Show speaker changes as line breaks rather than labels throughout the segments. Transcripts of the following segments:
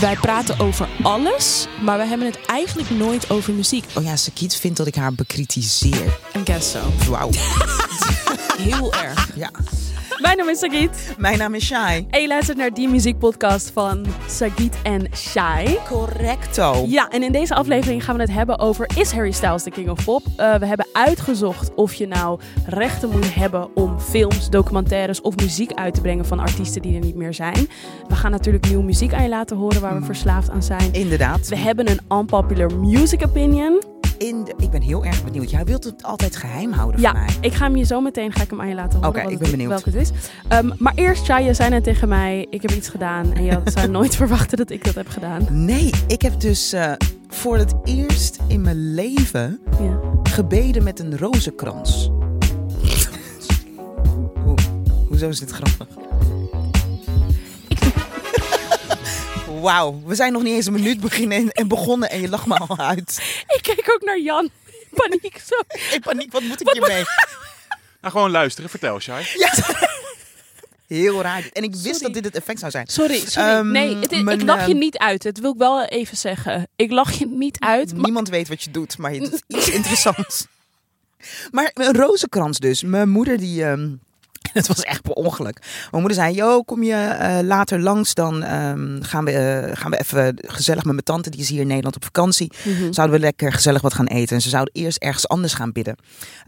Wij praten over alles, maar we hebben het eigenlijk nooit over muziek.
Oh ja, Sakiet vindt dat ik haar bekritiseer.
En guess so.
Wauw.
Heel erg.
ja.
Mijn naam is Sagit
Mijn naam is Shai.
en je luistert naar die muziekpodcast van Sagit en Shai.
Correcto.
Ja, en in deze aflevering gaan we het hebben over is Harry Styles de King of Pop? Eh, we hebben uitgezocht of je nou rechten moet hebben om films, documentaires of muziek uit te brengen van artiesten die er niet meer zijn. We gaan natuurlijk nieuwe muziek aan je laten horen waar we verslaafd aan zijn.
Inderdaad.
We hebben een unpopular music opinion.
In de- Ik ben heel erg benieuwd. Jij wilt het altijd geheim houden
Ja,
van mij.
ik ga hem je zo meteen ga ik hem aan je laten horen.
Oké,
wat
ik
het-
ben benieuwd.
Welke het is. Ehm, maar eerst, Shai, je zei net tegen mij, ik heb iets gedaan. En je had- zou nooit verwachten dat ik dat heb gedaan.
Nee, ik heb dus eh, voor het eerst in mijn leven
Ja.
gebeden met een rozenkrans. Hoe, hoezo is dit grappig? Wauw, we zijn nog niet eens een minuut beginnen en, en begonnen en je lacht me al uit.
Ik kijk ook naar Jan. Paniek zo.
Ik paniek, wat moet ik hiermee?
Nou, gewoon luisteren. Vertel, Shai.
Ja. Heel raar. En ik wist
Sorry.
dat dit het effect zou zijn.
Sorry, sorry.
Ehm,
nee, het is-
mijn,
ik lach je
eh,
niet uit. Dat wil ik wel even zeggen. Ik lach je niet uit. Maar
Niemand weet wat je doet, maar het is iets interessants. Maar een rozenkrans dus. Mijn moeder die... ehm, het was echt per ongeluk. Mijn moeder zei, yo, kom je eh, later langs, dan ehm, gaan, we, eh, gaan we even gezellig met mijn tante, die is hier in Nederland op vakantie,
Mhm.
zouden we lekker gezellig wat gaan eten. En ze zouden eerst ergens anders gaan bidden.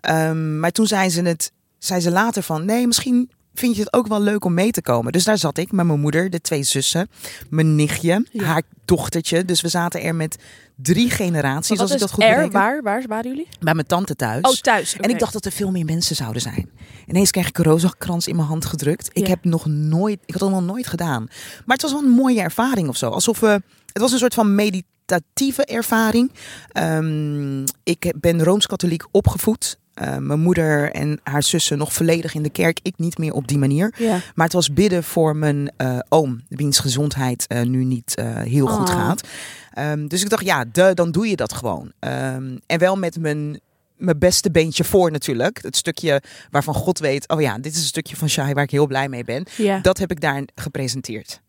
Ehm, maar toen zei ze, het, zei ze later van, nee, misschien vind je het ook wel leuk om mee te komen. Dus daar zat ik met mijn moeder, de twee zussen, mijn nichtje,
Ja.
haar dochtertje. Dus we zaten er met drie generaties,
wat
als ik
is
dat goed
er?
bereken.
Waar, waar waren jullie?
Bij mijn tante thuis.
Oh, thuis.
En
oké.
ik dacht dat er veel meer mensen zouden zijn. Ineens kreeg ik een rozenkrans in mijn hand gedrukt. Ik
Ja.
heb nog nooit, ik had dat nog nooit gedaan. Maar het was wel een mooie ervaring of zo. Alsof we, het was een soort van meditatieve ervaring. Ehm, ik ben rooms-katholiek opgevoed. Eh, mijn moeder en haar zussen nog volledig in de kerk. Ik niet meer op die manier.
Ja.
Maar het was bidden voor mijn eh, oom, wiens gezondheid eh, nu niet eh, heel goed
Oh.
gaat. Ehm, dus ik dacht, ja, de, dan doe je dat gewoon. Ehm, en wel met mijn, mijn beste beentje voor natuurlijk. Het stukje waarvan God weet, oh ja, dit is een stukje van Shai waar ik heel blij mee ben.
Ja.
Dat heb ik daar gepresenteerd.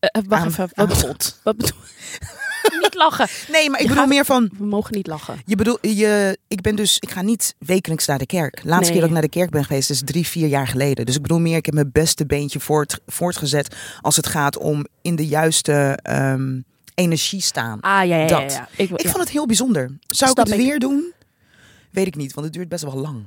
Eh, eh, wacht
aan-
even.
aan
Wat,
God.
wat bedoel Niet lachen.
Nee, maar ik
Je
bedoel
gaat-
meer van,
We mogen niet lachen.
je bedoel, je, ik ben dus, ik ga niet wekelijks naar de kerk. Laatste
Nee.
keer dat ik naar de kerk ben geweest is drie, vier jaar geleden. Dus ik bedoel meer, ik heb mijn beste beentje voort, voortgezet als het gaat om in de juiste ehm, energie staan.
Ah, ja, ja, ja.
Dat.
ja. Ik, wil-
Ik
ja.
vond het heel bijzonder. Zou
Snap
ik het
ik.
weer doen? Weet ik niet, want het duurt best wel lang.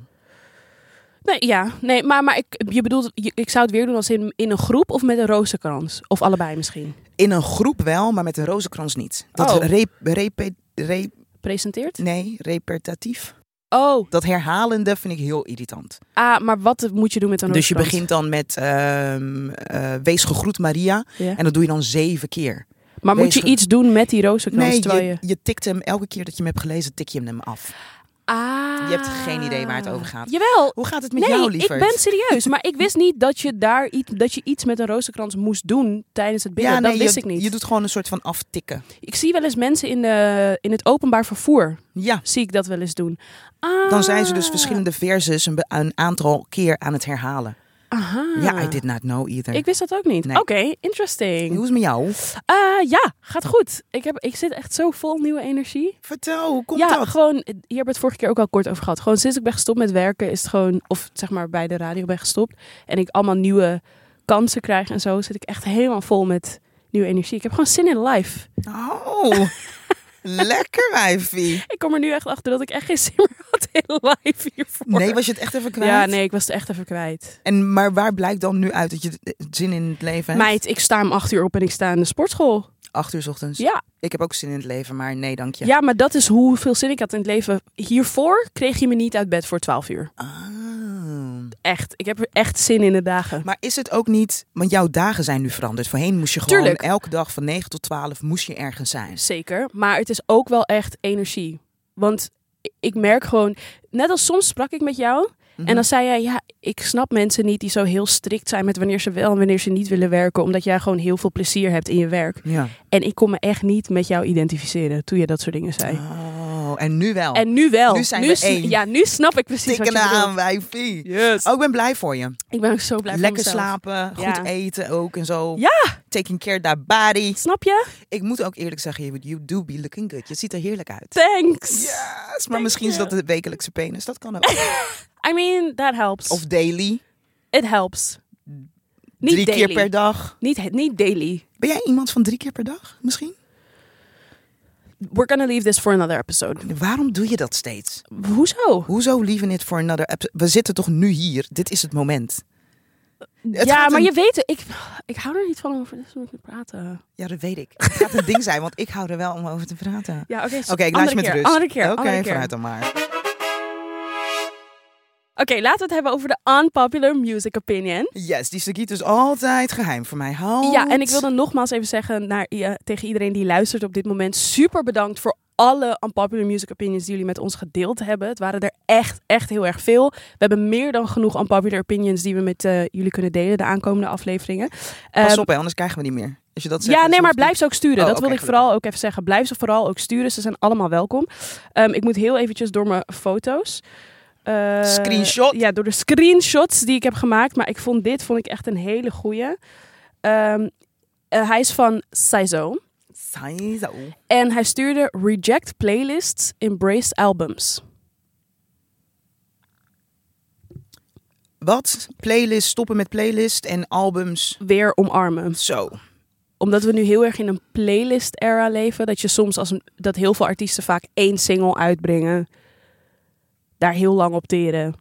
Nee, ja, nee, maar, maar ik, je bedoelt, je- ik zou het weer doen als in, in een groep of met een rozenkrans. Of allebei misschien.
In een groep wel, maar met een rozenkrans niet. Dat
Oh.
rep, repe- re-
Presenteert?
nee, repetatief.
Oh,
Dat herhalende vind ik heel irritant.
ah, maar wat moet je doen met een
Dus je
rozenkrans?
begint dan met ehm, eh, Wees gegroet Maria.
Ja.
En dat doe je dan zeven keer.
Maar moet je
bezig.
iets doen met die rozenkrans?
Nee,
terwijl
je,
je...
je tikt hem elke keer dat je hem hebt gelezen, tik je hem af.
Ah.
Je hebt geen idee waar het over gaat.
Jawel.
Hoe gaat het met
Nee,
jou,
ik
liever?
ben serieus. Maar ik wist niet dat je, daar iets, dat je iets met een rozenkrans moest doen tijdens het bidden. dat wist
je,
ik niet.
Je doet gewoon een soort van aftikken.
Ik zie wel eens mensen in, de, in het openbaar vervoer,
Ja.
zie ik dat wel eens doen. Ah.
Dan zijn ze dus verschillende verses een, be- een aantal keer aan het herhalen.
Aha.
Ja, I did not know either.
Ah. Ik wist dat ook niet.
Nee.
Oké, interesting.
Hoe is het met jou?
Eh, ja, gaat goed. Ik, heb, ik zit echt zo vol nieuwe energie.
Vertel, hoe komt
ja,
dat?
gewoon, eh, hier hebben we het vorige keer ook al kort over gehad. Gewoon sinds ik ben gestopt met werken is het gewoon, of zeg maar bij de radio ben gestopt. En ik allemaal nieuwe kansen krijg en zo, zit ik echt helemaal vol met nieuwe energie. Ik heb gewoon zin in life.
Oh, lekker wijfie.
Ik kom er nu echt achter dat ik echt geen zin meer had in life hiervoor.
Nee, was je het echt even kwijt?
Ja, nee, ik was het echt even kwijt.
En, maar waar blijkt dan nu uit dat je eh, zin in het leven hebt?
Meid, ik sta om acht uur op en ik sta in de sportschool.
Acht uur 's ochtends.
Ja,
Ik heb ook zin in het leven, maar nee, dank je.
ja. maar dat is hoeveel zin ik had in het leven. Hiervoor kreeg je me niet uit bed voor twaalf uur.
Ah.
Echt, ik heb er echt zin in de dagen.
Maar is het ook niet, want jouw dagen zijn nu veranderd. Voorheen moest je gewoon
Tuurlijk.
elke dag van 9 tot 12 moest je ergens zijn.
Zeker, maar het is ook wel echt energie. Want ik merk gewoon, net als soms sprak ik met jou
Mhm.
en dan zei jij, ja, ik snap mensen niet die zo heel strikt zijn met wanneer ze wel en wanneer ze niet willen werken, omdat jij gewoon heel veel plezier hebt in je werk.
Ja.
En ik kon me echt niet met jou identificeren toen je dat soort dingen zei.
Oh, Oh, en nu wel.
En nu wel.
Nu zijn we
sn-
één.
Ja, nu snap ik precies
Tikken
wat je
aan,
bedoelt.
wijfie.
Yes.
Oh, ik ben blij voor je.
Ik ben ook zo blij
Lekker
voor mezelf.
slapen, goed
Ja.
eten ook en zo.
Ja.
Taking care of that body.
Snap je?
Ik moet ook eerlijk zeggen, you- you do be looking good. Je ziet er heerlijk uit.
Thanks.
Yes, maar misschien is dat de wekelijkse penis. Dat kan ook.
I mean, that helps.
Of daily.
It helps. Niet
drie
daily.
keer per dag.
Niet, niet daily.
Ben jij iemand van drie keer per dag misschien?
We're gonna leave this for another episode.
Waarom doe je dat steeds?
Hoezo?
Hoezo leaving it for another app? We zitten toch nu hier? Dit is het moment. Het
ja,
gaat
maar
een-
je weet, ik, ik hou er niet van om over dit soort dingen te praten.
Ja, dat weet ik. Het gaat een ding zijn, want ik hou er wel om over te praten.
Ja, oké.
Oké, ik laat je met
keer,
rust.
Andere keer.
Oké,
andere keer.
vanuit dan maar.
Oké, laten we het hebben over de unpopular music opinion.
Yes, die Sagiet is altijd geheim voor mij. Halt.
Ja, en ik wilde nogmaals even zeggen naar, i- eh, tegen iedereen die luistert op dit moment. Super bedankt voor alle unpopular music opinions die jullie met ons gedeeld hebben. Het waren er echt, echt heel erg veel. We hebben meer dan genoeg unpopular opinions die we met eh, jullie kunnen delen de aankomende afleveringen.
Pas
Ehm,
op, hè, anders krijgen we die meer. Als je dat zegt,
Ja,
dan
nee, maar
hoeft het
blijf ze ook sturen.
Oh,
dat
oké,
wil ik
gelukkig.
vooral ook even zeggen. Blijf ze vooral ook sturen. Ze zijn allemaal welkom. Ehm, ik moet heel eventjes door mijn foto's. Eh,
Screenshot?
Ja, door de screenshots die ik heb gemaakt. Maar ik vond dit vond ik echt een hele goeie. Ehm, eh, hij is van Saizo.
niet- Saizo.
En hij stuurde Reject Playlists, Embrace Albums.
Wat? Playlist, stoppen met playlist en albums.
Weer omarmen.
Zo.
Omdat we nu heel erg in een playlist-era leven. Dat je soms, als een- dat heel veel artiesten vaak één single uitbrengen. Daar heel lang op teren.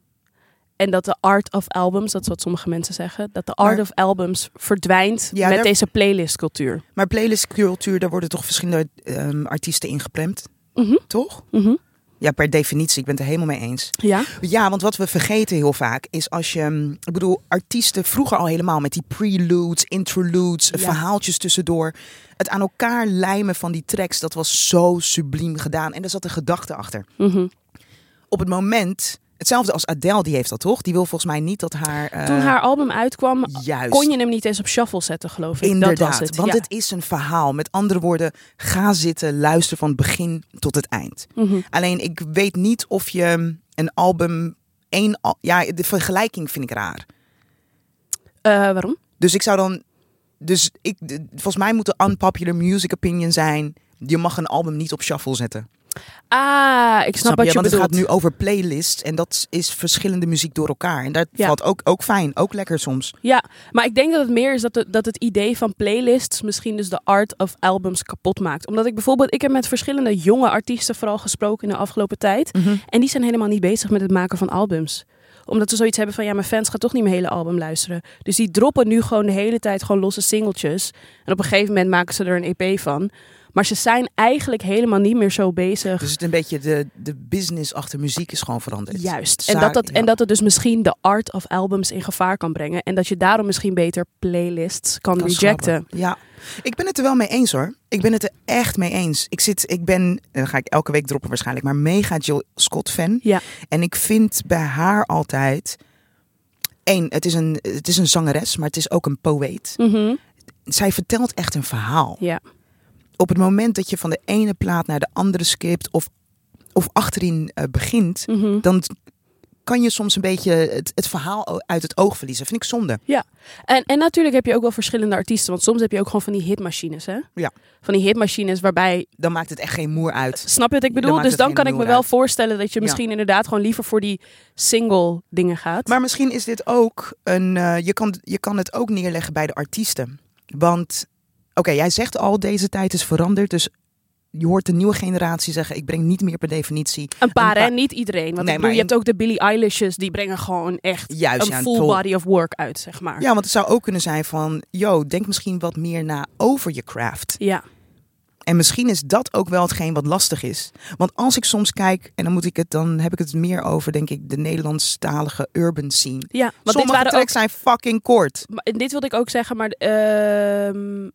En dat de art of albums, dat is wat sommige mensen zeggen. Dat de art
Maar-
of albums verdwijnt
Ja,
met
daar-
deze playlistcultuur.
Maar playlistcultuur, daar worden toch verschillende ehm, artiesten ingepremd,
Mhm,
toch?
mhm.
Ja, per definitie. Ik ben het er helemaal mee eens.
Ja,
Ja, want wat we vergeten heel vaak is als je... hm, Ik bedoel, artiesten vroeger al helemaal met die preludes, interludes,
Ja.
verhaaltjes tussendoor. Het aan elkaar lijmen van die tracks, dat was zo subliem gedaan. En daar zat een gedachte achter.
mhm.
Op het moment... Hetzelfde als Adele, die heeft dat toch? Die wil volgens mij niet dat haar... eh,
Toen haar album uitkwam,
Juist.
kon je hem niet eens op shuffle zetten, geloof ik.
Inderdaad,
dat was het.
want
ja.
het is een verhaal. Met andere woorden, ga zitten, luister van het begin tot het eind.
Mhm.
Alleen ik weet niet of je mm, een album één al- ja, de vergelijking vind ik raar.
Eh, waarom?
Dus ik zou dan dus ik de- volgens mij moet de unpopular music opinion zijn. Je mag een album niet op shuffle zetten.
Ah, ik snap, wat je,
Want het
bedoelt.
gaat nu over playlists en dat is verschillende muziek door elkaar. En dat
Ja.
valt ook, ook fijn, ook lekker soms.
Ja, maar ik denk dat het meer is dat, het- dat het idee van playlists misschien dus de art of albums kapot maakt. Omdat ik bijvoorbeeld, ik heb met verschillende jonge artiesten vooral gesproken in de afgelopen tijd. En die zijn helemaal niet bezig met het maken van albums. Omdat ze zoiets hebben van, ja, mijn fans gaan toch niet mijn hele album luisteren. Dus die droppen nu gewoon de hele tijd gewoon losse singeltjes. En op een gegeven moment maken ze er een EP van. Maar ze zijn eigenlijk helemaal niet meer zo bezig.
Dus het een beetje de, de business achter muziek is gewoon veranderd.
Juist. En
Zaak-
dat, dat,
ja.
en dat het dus misschien de art of albums in gevaar kan brengen. En dat je daarom misschien beter playlists kan,
kan
rejecten.
schrappen. Ja, ik ben het er wel mee eens hoor. Ik ben het er echt mee eens. Ik zit, ik ben, eh, ga ik elke week droppen waarschijnlijk, maar mega Jill Scott fan.
Ja.
En ik vind bij haar altijd, één, het is een, het is een zangeres, maar het is ook een poëet.
Mhm.
Zij vertelt echt een verhaal.
Ja.
Op het moment dat je van de ene plaat naar de andere skipt of, of achterin eh, begint,
Mhm.
dan kan je soms een beetje het, het verhaal uit het oog verliezen. Vind ik zonde.
En, en natuurlijk heb je ook wel verschillende artiesten. Want soms heb je ook gewoon van die hitmachines, hè?
Ja.
Van die hitmachines waarbij...
Dan maakt het echt geen moer uit.
Snap je wat ik
Dan
bedoel?
maakt
dus
het
dan
geen
kan ik me
moer
wel
uit.
voorstellen dat je
Ja.
misschien inderdaad gewoon liever voor die single dingen gaat.
Maar misschien is dit ook een. eh, je, kan, je kan het ook neerleggen bij de artiesten. Want, oké, jij zegt al, deze tijd is veranderd. Dus je hoort de nieuwe generatie zeggen: ik breng niet meer per definitie.
een paar,
een
hè?
paar-
Niet iedereen. Want
Nee,
ik bedoel,
maar
je hebt ook de Billie Eilish's. Die brengen gewoon echt
Juist, ja,
een
een
full
full-
body of work uit, zeg maar.
Ja, want het zou ook kunnen zijn van: yo, denk misschien wat meer na over je craft.
Ja.
En misschien is dat ook wel hetgeen wat lastig is. Want als ik soms kijk, en dan, moet ik het, dan heb ik het meer over, denk ik, de Nederlandstalige urban scene.
Ja, want
Sommige
dit waren ook
tracks zijn fucking kort.
Maar- en dit wilde ik ook zeggen, maar ehm,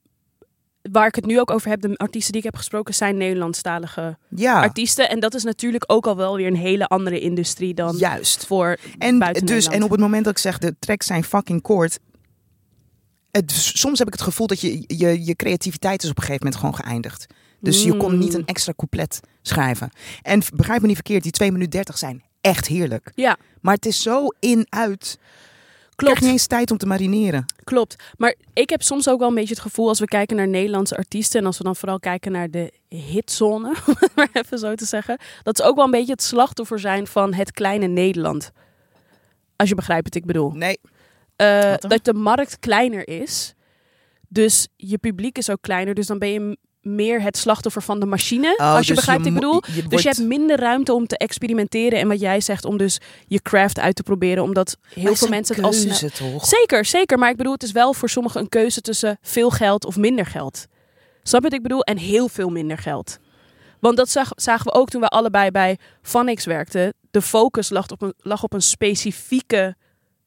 waar ik het nu ook over heb, de artiesten die ik heb gesproken zijn Nederlandstalige
Ja,
artiesten. En dat is natuurlijk ook al wel weer een hele andere industrie dan
juist.
voor
En,
buiten
dus,
Nederland.
en op het moment dat ik zeg, de tracks zijn fucking kort. Het, soms heb ik het gevoel dat je, je, je creativiteit is op een gegeven moment gewoon geëindigd. Dus je kon
Mm.
niet een extra couplet schrijven. En v- begrijp me niet verkeerd, die 2 minuten 30 zijn echt heerlijk.
Ja,
Maar het is zo in-uit. Ik krijg
klopt.
niet eens tijd om te marineren.
Klopt. Maar ik heb soms ook wel een beetje het gevoel als we kijken naar Nederlandse artiesten. En als we dan vooral kijken naar de hitzone, om het maar even zo te zeggen. Dat ze ook wel een beetje het slachtoffer zijn van het kleine Nederland. Als je begrijpt wat ik bedoel.
Nee,
Eh,
Wat dan?
dat de markt kleiner is. Dus je publiek is ook kleiner. Dus dan ben je m- meer het slachtoffer van de machine.
Oh,
als je
dus
begrijpt wat ik
mo-
bedoel.
je wordt-
Dus je hebt minder ruimte om te experimenteren. En wat jij zegt, om dus je craft uit te proberen. Omdat
Maar
heel
het
veel
is een
mensen het als
keuze, toch?
Zeker, zeker. Maar ik bedoel, het is wel voor sommigen een keuze tussen veel geld of minder geld. Snap je wat ik bedoel? En heel veel minder geld. Want dat zag- zagen we ook toen we allebei bij Vanix werkten. De focus lag op een, lag op een specifieke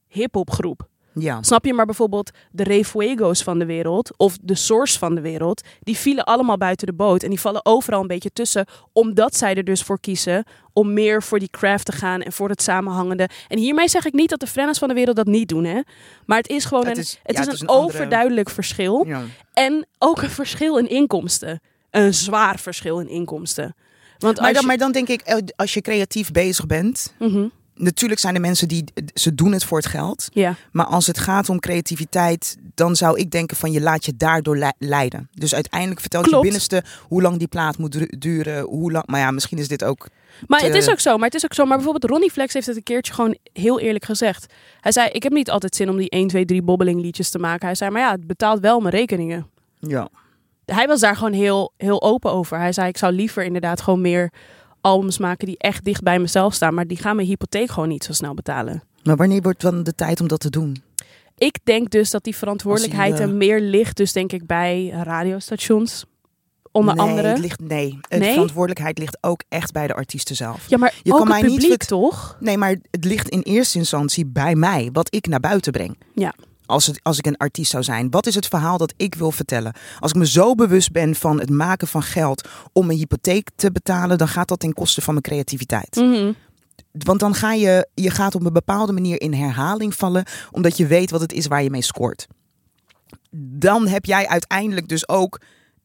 hip-hopgroep.
Ja.
Snap je? Maar bijvoorbeeld de Refuego's van de wereld of de Source van de wereld, die vielen allemaal buiten de boot en die vallen overal een beetje tussen, omdat zij er dus voor kiezen om meer voor die craft te gaan en voor het samenhangende. En hiermee zeg ik niet dat de Frenna's van de wereld dat niet doen, hè? Maar het is gewoon
Het
een,
is-
het
ja,
is
het is
een
een andere-
overduidelijk verschil
ja.
en ook een verschil in inkomsten. Een zwaar verschil in inkomsten. Want
Maar,
als
dan,
je-
maar dan denk ik, eh, als je creatief bezig bent.
Mhm,
Natuurlijk zijn er mensen die ze doen het voor het geld.
ja.
Maar als het gaat om creativiteit, dan zou ik denken van je laat je daardoor le- leiden. Dus uiteindelijk vertelt
Klopt.
je binnenste hoe lang die plaat moet dru- duren. Hoe lang, maar ja, misschien is dit ook...
Maar het
te-
is ook zo. Maar het is ook zo. Maar bijvoorbeeld Ronnie Flex heeft het een keertje gewoon heel eerlijk gezegd. Hij zei, ik heb niet altijd zin om die 1, 2, 3 bobbeling liedjes te maken. Hij zei, maar ja, het betaalt wel mijn rekeningen.
Ja.
Hij was daar gewoon heel, heel open over. Hij zei, ik zou liever inderdaad gewoon meer albums maken die echt dicht bij mezelf staan. Maar die gaan mijn hypotheek gewoon niet zo snel betalen.
Maar wanneer wordt dan de tijd om dat te doen?
Ik denk dus dat die verantwoordelijkheid
Als hij,
er
eh,
meer ligt. Dus denk ik bij radiostations. Onder
nee,
andere.
Het ligt, nee, de
Nee?
verantwoordelijkheid ligt ook echt bij de artiesten zelf.
Ja, maar
Je
ook
kan
het
mij niet
publiek
vert-
toch?
Nee, maar het ligt in eerste instantie bij mij, wat ik naar buiten breng.
Ja.
Als, het, als ik een artiest zou zijn, wat is het verhaal dat ik wil vertellen? Als ik me zo bewust ben van het maken van geld om mijn hypotheek te betalen, dan gaat dat ten koste van mijn creativiteit.
Mhm.
Want dan ga je, je gaat op een bepaalde manier in herhaling vallen, omdat je weet wat het is waar je mee scoort. Dan heb jij uiteindelijk dus ook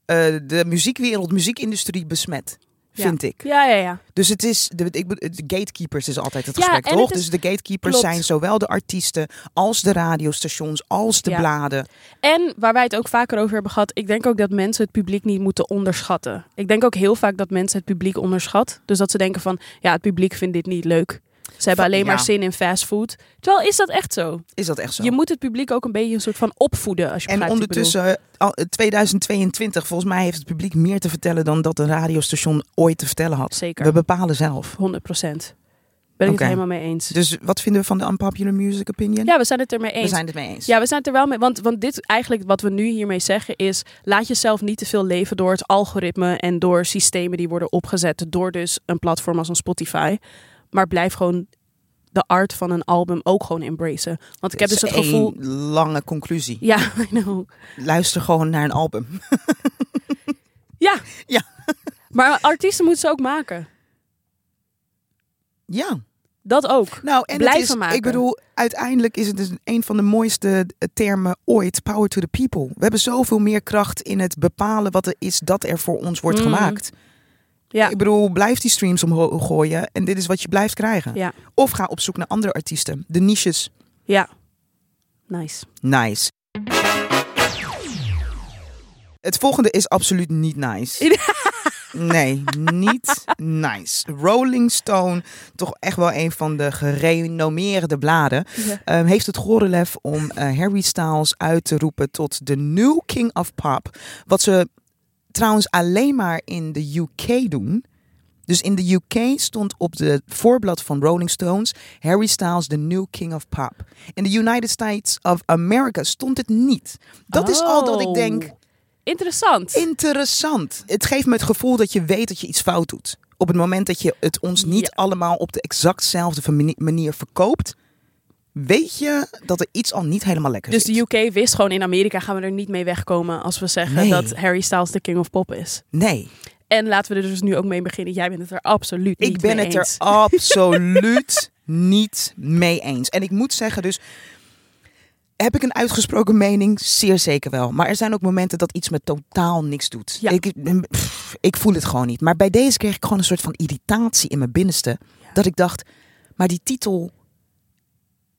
eh, de muziekwereld, muziekindustrie besmet,
Ja.
vind ik.
Ja, ja, ja.
Dus het is, de, ik, bedoel, de gatekeepers is altijd het
Ja,
gesprek,
en
toch?
het is-
dus de gatekeepers
klopt.
zijn zowel de artiesten als de radiostations, als de
Ja.
bladen.
En waar wij het ook vaker over hebben gehad, ik denk ook dat mensen het publiek niet moeten onderschatten. Ik denk ook heel vaak dat mensen het publiek onderschat. Dus dat ze denken van, ja, het publiek vindt dit niet leuk. Ze hebben
Va-
alleen maar
ja.
zin in fastfood. Terwijl, is dat echt zo?
Is dat echt zo?
Je moet het publiek ook een beetje een soort van opvoeden, als je
en
begrijpt wat ik bedoel.
ondertussen, al- 2022, volgens mij heeft het publiek meer te vertellen dan dat een radiostation ooit te vertellen had.
Zeker.
We bepalen zelf.
100 procent. Ben ik
Oké.
het helemaal mee eens.
Dus wat vinden we van de unpopular music opinion?
ja, we zijn het ermee eens.
We zijn het mee eens.
Ja, we zijn het er wel mee. Want, want dit eigenlijk wat we nu hiermee zeggen is: laat jezelf niet te veel leven door het algoritme en door systemen die worden opgezet door dus een platform als een Spotify. Maar blijf gewoon de art van een album ook gewoon embracen. Want ik heb dus
Dat
het
is
gevoel.
één lange conclusie.
Ja, I know.
Luister gewoon naar een album.
Ja.
Ja.
Maar artiesten moeten ze ook maken.
Ja.
Dat ook.
Nou, en
Blijven
het is,
maken.
ik bedoel, uiteindelijk is het dus een van de mooiste eh, termen ooit, power to the people. We hebben zoveel meer kracht in het bepalen wat er is dat er voor ons wordt
Mm.
gemaakt.
Ja.
Ik bedoel, blijf die streams omhoog gooien en dit is wat je blijft krijgen.
Ja.
Of ga op zoek naar andere artiesten. De niches,
Ja. Nice.
nice. Het volgende is absoluut niet nice. Nee, niet nice. Rolling Stone, toch echt wel een van de gerenommeerde bladen.
Ja.
Ehm, heeft het gorenlef om eh, Harry Styles uit te roepen tot de new king of pop. Wat ze trouwens alleen maar in de UK doen. Dus in de UK stond op de voorblad van Rolling Stones Harry Styles the new king of pop. In de United States of America stond het niet. Dat is al dat ik
Oh.
denk,
Interessant.
interessant. Het geeft me het gevoel dat je weet dat je iets fout doet. Op het moment dat je het ons niet
Ja.
allemaal op de exactzelfde vermani- manier verkoopt, weet je dat er iets al niet helemaal lekker
Dus
zit.
de UK wist gewoon in Amerika gaan we er niet mee wegkomen als we zeggen
Nee.
dat Harry Styles de king of pop is.
Nee,
En laten we er dus nu ook mee beginnen. Jij bent het er absoluut niet
ik ben
mee
het
eens.
er absoluut niet mee eens. En ik moet zeggen dus, Heb ik een uitgesproken mening? Zeer zeker wel. Maar er zijn ook momenten dat iets me totaal niks doet.
Ja.
Ik, pff, ik voel het gewoon niet. Maar bij deze kreeg ik gewoon een soort van irritatie in mijn binnenste. Dat ik dacht, maar die titel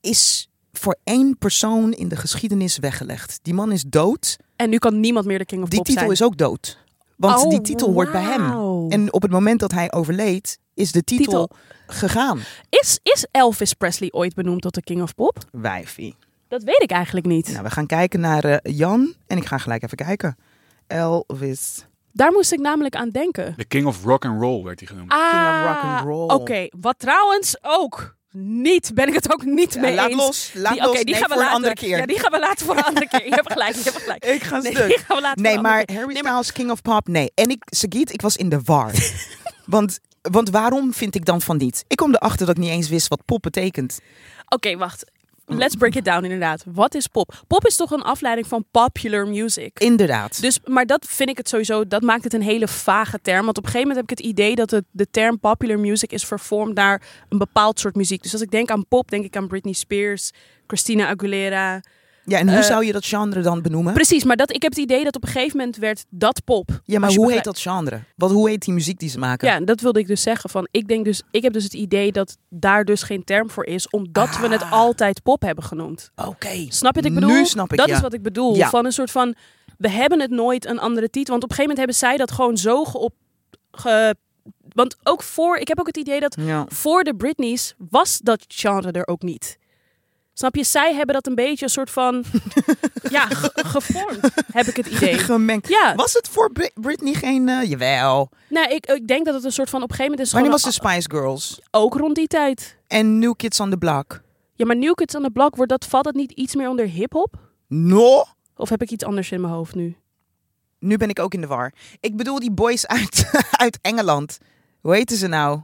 is voor één persoon in de geschiedenis weggelegd. Die man is dood.
En nu kan niemand meer de King of
Die
Pop
titel
zijn.
is ook dood. Want
Oh,
die titel hoort bij hem.
wauw.
En op het moment dat hij overleed, is de titel,
Titel.
gegaan.
Is, is Elvis Presley ooit benoemd tot de King of Pop?
Wijfie.
Dat weet ik eigenlijk niet.
Nou, we gaan kijken naar eh, Jan. En ik ga gelijk even kijken. Elvis.
Daar moest ik namelijk aan denken.
De King of Rock and Roll werd hij genoemd.
Ah,
rock'n'roll.
Oké, wat trouwens ook niet, ben ik het ook niet mee
laat
eens.
los. Laat
Die- Oké,
los.
die
Nee,
gaan we
voor
later.
een andere keer.
Ja, die gaan we later voor een andere keer. Je hebt gelijk, je hebt gelijk.
Ik ga
nee,
stuk.
die gaan we later
Nee,
voor een andere
maar
keer.
Harry Styles, King of Pop, nee. En ik, Sagiet, ik was in de war. want, want waarom vind ik dan van niet? Ik kom erachter dat ik niet eens wist wat pop betekent.
Oké, wacht. Let's break it down inderdaad. Wat is pop? Pop is toch een afleiding van popular music?
Inderdaad.
Dus, maar dat vind ik het sowieso, dat maakt het een hele vage term. Want op een gegeven moment heb ik het idee dat het, de term popular music is vervormd naar een bepaald soort muziek. Dus als ik denk aan pop, denk ik aan Britney Spears, Christina Aguilera.
ja, en hoe
eh,
zou je dat genre dan benoemen?
Precies, maar dat, ik heb het idee dat op een gegeven moment werd dat pop.
Ja, maar
Als je
hoe heet
begrijpt-
dat genre? Wat, hoe heet die muziek die ze maken?
Ja, dat wilde ik dus zeggen. Van, ik, denk dus, ik heb dus het idee dat daar dus geen term voor is, omdat we het
Ah.
altijd pop hebben genoemd.
Oké.
Snap je wat ik bedoel?
Nu snap ik,
Dat
ja.
is wat ik bedoel.
Ja.
Van een soort van, we hebben het nooit een andere titel. Want op een gegeven moment hebben zij dat gewoon zo geop... Ge, want ook voor, ik heb ook het idee dat
Ja.
voor de Britneys was dat genre er ook niet. Snap je? Zij hebben dat een beetje een soort van, ja, ge- gevormd, heb ik het idee.
Gemengd.
Ja.
Was het voor Bri- Britney geen... eh, jawel.
Nou, ik, ik denk dat het een soort van, op een gegeven moment is
Wanneer
gewoon
was dus de Spice Girls?
ook rond die tijd.
En New Kids on the Block?
Ja, maar New Kids on the Block, wordt dat, valt dat niet iets meer onder hip-hop?
No.
Of heb ik iets anders in mijn hoofd nu?
Nu ben ik ook in de war. Ik bedoel die boys uit, uit Engeland. Hoe heten ze nou?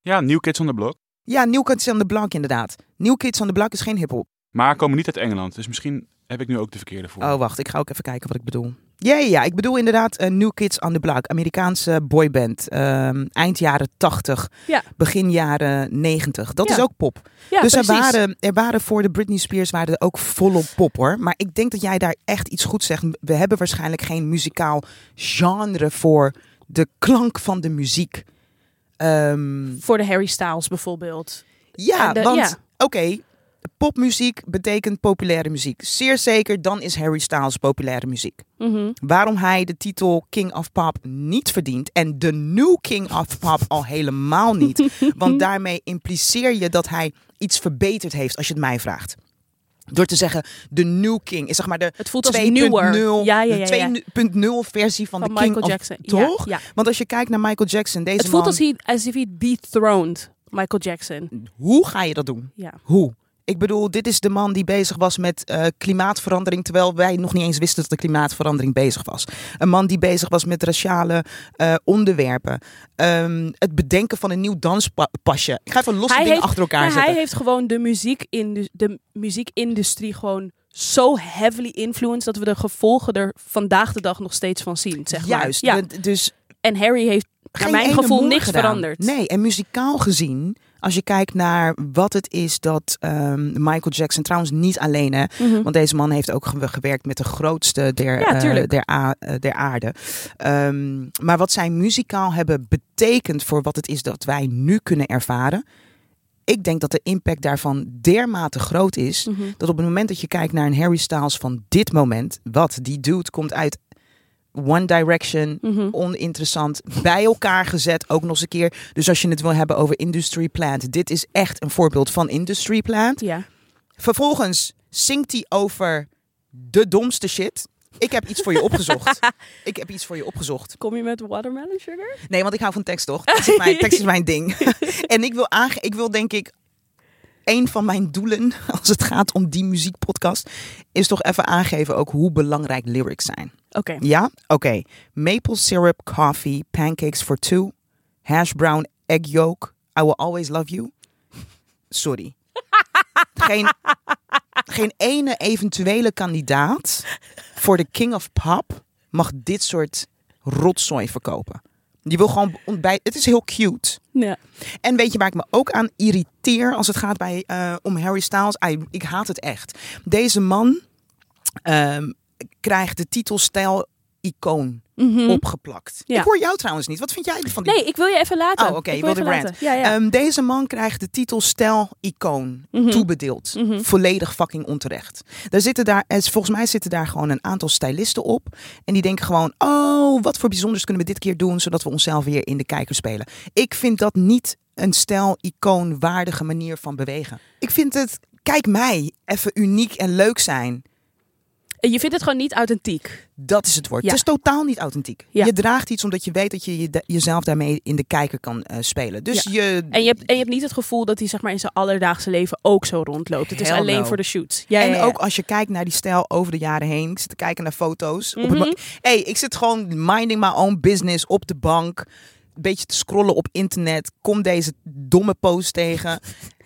Ja, New Kids on the Block.
Ja, New Kids on the Block inderdaad. New Kids on the Block is geen hiphop.
Maar komen niet uit Engeland. Dus misschien heb ik nu ook de verkeerde voor.
Oh, wacht. Ik ga ook even kijken wat ik bedoel. Ja, ja, ja. Ik bedoel inderdaad eh, New Kids on the Block. Amerikaanse boyband. Ehm, eind jaren 80,
Ja.
begin jaren 90. Dat
Ja.
is ook pop.
Ja,
dus er
precies.
waren, er waren voor de Britney Spears waren er ook volop pop hoor. Maar ik denk dat jij daar echt iets goed zegt. We hebben waarschijnlijk geen muzikaal genre voor de klank van de muziek. Ehm,
Voor de Harry Styles bijvoorbeeld.
ja,
En de-
want
ja.
oké, popmuziek betekent populaire muziek. Zeer zeker, dan is Harry Styles populaire muziek.
Mhm.
Waarom hij de titel King of Pop niet verdient en de New King of Pop al helemaal niet. Want daarmee impliceer je dat hij iets verbeterd heeft, als je het mij vraagt. Door te zeggen, de New King is zeg maar de 2.0
Het voelt als nieuwer. Ja, ja, ja, ja.
de 2.0 versie van,
Van
de King
Michael
of
Jackson. Ja,
Toch?
ja.
Want als je kijkt naar Michael Jackson, deze
Het voelt
man, Mm.
als hij, alsof hij dethroned Michael Jackson.
hoe ga je dat doen?
Ja.
Hoe? Ik bedoel, dit is de man die bezig was met eh, klimaatverandering, terwijl wij nog niet eens wisten dat de klimaatverandering bezig was. Een man die bezig was met raciale eh, onderwerpen. Ehm, het bedenken van een nieuw danspasje. Ik ga even losse
Hij
dingen
heeft-
achter elkaar
Maar
zetten.
hij heeft gewoon de, muziek in de muziekindustrie gewoon zo heavily influenced dat we de gevolgen er vandaag de dag nog steeds van zien. Zeg maar.
Juist.
Ja.
d- Dus
En Harry heeft naar
geen
mijn
ene
gevoel
moer
niks
gedaan.
veranderd.
Nee, en muzikaal gezien, als je kijkt naar wat het is dat ehm, Michael Jackson, trouwens niet alleen hè,
Mhm.
Want deze man heeft ook ge- gewerkt met de grootste der,
Ja,
eh,
tuurlijk.
der, a- eh, der aarde. Ehm, maar wat zij muzikaal hebben betekend voor wat het is dat wij nu kunnen ervaren. Ik denk dat de impact daarvan dermate groot is.
Mhm.
Dat op het moment dat je kijkt naar een Harry Styles van dit moment. Wat die dude komt uit One Direction.
Mhm.
Oninteressant. Bij elkaar gezet. Ook nog eens een keer. Dus als je het wil hebben over Industry Plant. Dit is echt een voorbeeld van Industry Plant.
Ja.
Vervolgens zingt hij over de domste shit. Ik heb iets voor je opgezocht. Ik heb iets voor je opgezocht.
Kom je met watermelon sugar?
Nee, want ik hou van tekst, toch? Dat is mijn, tekst is mijn ding. en ik wil, aange ik wil denk ik... Een van mijn doelen, als het gaat om die muziekpodcast... is toch even aangeven ook hoe belangrijk lyrics zijn.
Oké.
Ja? Oké. Maple syrup, coffee, pancakes for two... hash brown, egg yolk, I will always love you. Sorry. Geen, geen ene eventuele kandidaat voor de King of Pop mag dit soort rotzooi verkopen. Die wil gewoon ontbijt. Het is heel cute.
Ja.
En weet je waar ik me ook aan irriteer als het gaat bij, eh, om Harry Styles? Ai, ik haat het echt. Deze man ehm, krijgt de titel stijl icoon
Mhm.
opgeplakt.
Ja.
Ik hoor jou trouwens niet. Wat vind jij van die?
Nee, ik wil je even laten.
Oh, oké,
Ik
je
wil je
wilde
even
rant.
laten. Ja, ja.
Ehm, deze man krijgt de titel stijl icoon
Mhm.
toebedeeld.
Mhm.
Volledig fucking onterecht. Daar zitten daar, eh, volgens mij zitten daar gewoon een aantal stylisten op. En die denken gewoon, oh, wat voor bijzonders kunnen we dit keer doen... zodat we onszelf weer in de kijker spelen. Ik vind dat niet een stijl-icoon waardige manier van bewegen. Ik vind het, kijk mij, even uniek en leuk zijn.
Je vindt het gewoon niet authentiek.
Dat is het woord.
Ja.
Het is totaal niet authentiek.
Ja.
Je draagt iets omdat je weet dat je, je- jezelf daarmee in de kijker kan eh, spelen. Dus je...
En je, hebt, en je hebt niet het gevoel dat hij zeg maar, in zijn alledaagse leven ook zo rondloopt. Het is
Hell
alleen
no.
voor de shoot. Ja,
en
ja, ja.
ook als je kijkt naar die stijl over de jaren heen. Ik zit te kijken naar foto's. Op het
Mhm.
mo- hey, ik zit gewoon minding my own business op de bank. Een beetje te scrollen op internet. Kom deze domme post tegen.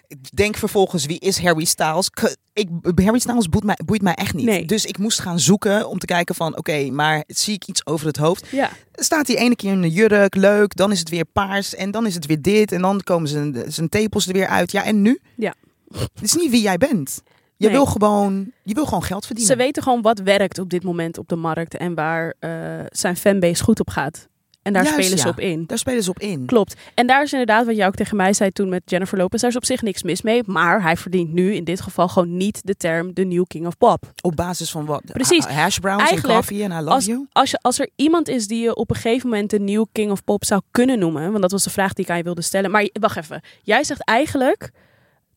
Ik Denk vervolgens, wie is Harry Styles? K- Ik, Harry Styles boeit mij, boeit mij echt niet.
Nee.
Dus ik moest gaan zoeken om te kijken van... Oké, maar zie ik iets over het hoofd?
Ja.
Staat hij ene keer in een jurk, leuk. Dan is het weer paars. En dan is het weer dit. En dan komen zijn, zijn tepels er weer uit. Ja, en nu?
Ja.
Het is niet wie jij bent. Je,
Nee.
wil, gewoon, je wil gewoon geld verdienen.
Ze weten gewoon wat werkt op dit moment op de markt en waar eh, zijn fanbase goed op gaat. En daar
Juist,
spelen ze
ja.
op in.
Daar spelen ze op in.
Klopt. En daar is inderdaad wat jij ook tegen mij zei toen met Jennifer Lopez. Daar is op zich niks mis mee. Maar hij verdient nu in dit geval gewoon niet de term de new king of pop.
Op basis van wat?
Precies.
Ha- Hash browns en
Eigenlijk,
coffee en I love you.
Als, je, als er iemand is die je op een gegeven moment de new king of pop zou kunnen noemen. Want dat was de vraag die ik aan je wilde stellen. Maar wacht even. Jij zegt eigenlijk,